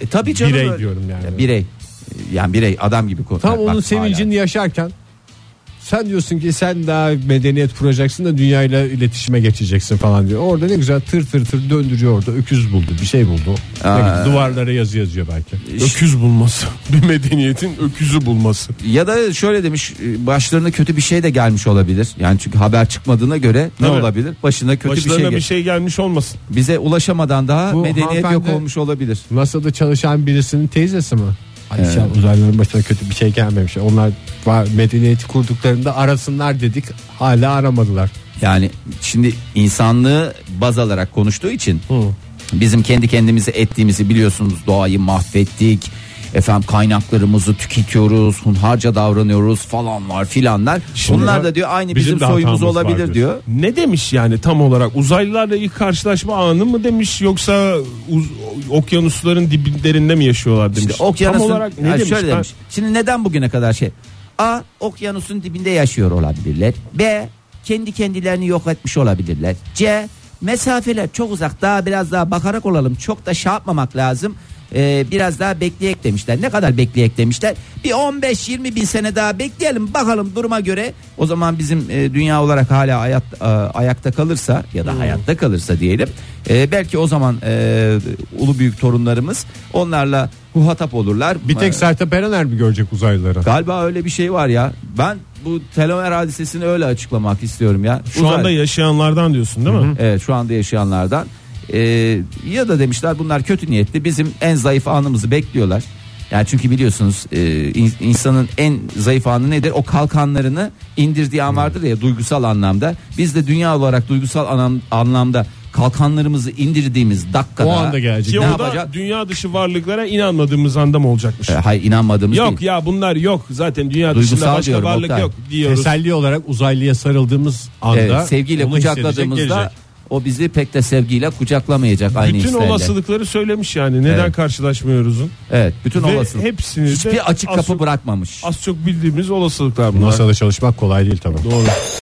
E, tabii canım. Birey öyle. diyorum yani. Ya, birey. Yani birey adam gibi. ko- Tam bak, onun hala. sevincini yaşarken sen diyorsun ki sen daha medeniyet kuracaksın da dünyayla iletişime geçeceksin falan diyor. Orada ne güzel tır tır tır döndürüyor orada. Öküz buldu bir şey buldu. Belki Duvarlara yazı yazıyor belki. Öküz bulması. Bir medeniyetin öküzü bulması. Ya da şöyle demiş e, başlarına kötü bir şey de gelmiş olabilir. Yani çünkü haber çıkmadığına göre ne Tabii. olabilir? Başına kötü bir şey, Başlarına gel- bir şey gelmiş olmasın. Bize ulaşamadan daha Bu medeniyet yok hanımefendi- olmuş olabilir. NASA'da çalışan birisinin teyzesi mi? Ay ya uzaylıların başına kötü bir şey gelmemiş. Onlar var medeniyeti kurduklarında arasınlar dedik. Hala aramadılar. Yani şimdi insanlığı baz alarak konuştuğu için bizim kendi kendimize ettiğimizi biliyorsunuz doğayı mahvettik. Efendim kaynaklarımızı tüketiyoruz, hunharca davranıyoruz falanlar filanlar. Bunlar da diyor aynı bizim, de soyumuz hatamız var diyorsun. olabilir diyor. Ne demiş yani tam olarak uzaylılarla ilk karşılaşma anı mı demiş yoksa uz- okyanusların diblerinde mi yaşıyorlar demiş. İşte okyanusun tam olarak ne yani demiş? şöyle Ben- demiş. Şimdi neden bugüne kadar şey? A okyanusun dibinde yaşıyor olabilirler. B kendi kendilerini yok etmiş olabilirler. C mesafeler çok uzak daha biraz daha bakarak olalım çok da şey yapmamak lazım. Ee, biraz daha bekleyek demişler. Ne kadar bekleyek demişler? Bir 15-20 bin sene daha bekleyelim bakalım duruma göre. O zaman bizim e, dünya olarak hala hayat, e, ayakta kalırsa ya da hayatta kalırsa diyelim. E, belki o zaman e, ulu büyük torunlarımız onlarla huhatap olurlar. Bir tek E, Sertab Erener mi görecek uzaylıları? Galiba öyle bir şey var ya. Ben bu telomer hadisesini öyle açıklamak istiyorum ya. Şu Uzay- anda yaşayanlardan diyorsun değil mi? Evet şu anda yaşayanlardan. Ee, ya da demişler bunlar kötü niyetli bizim en zayıf anımızı bekliyorlar. Yani çünkü biliyorsunuz e, in- insanın en zayıf anı nedir? O kalkanlarını indirdiği an vardır ya duygusal anlamda. Biz de dünya olarak duygusal anam- anlamda kalkanlarımızı indirdiğimiz dakikada. O anda gelecek. Ki Ne o da yapacak? dünya dışı varlıklara inanmadığımız anda mı olacakmış? E, hayır inanmadığımız yok değil. ya bunlar yok zaten dünya Duygusal dışında başka diyorum, varlık Oktay. yok diyoruz. Teselli olarak uzaylıya sarıldığımız anda Evet, sevgiyle onu hissedecek, kucakladığımızda gelecek. o bizi pek de sevgiyle kucaklamayacak aynı Bütün hislerle. olasılıkları söylemiş yani neden Evet. karşılaşmıyoruzun. Evet, bütün Ve olasılık. hepsini de Hiçbir açık az kapı çok- bırakmamış. Az çok bildiğimiz olasılıklar bunlar. NASA'da çalışmak kolay değil tabii. Doğru.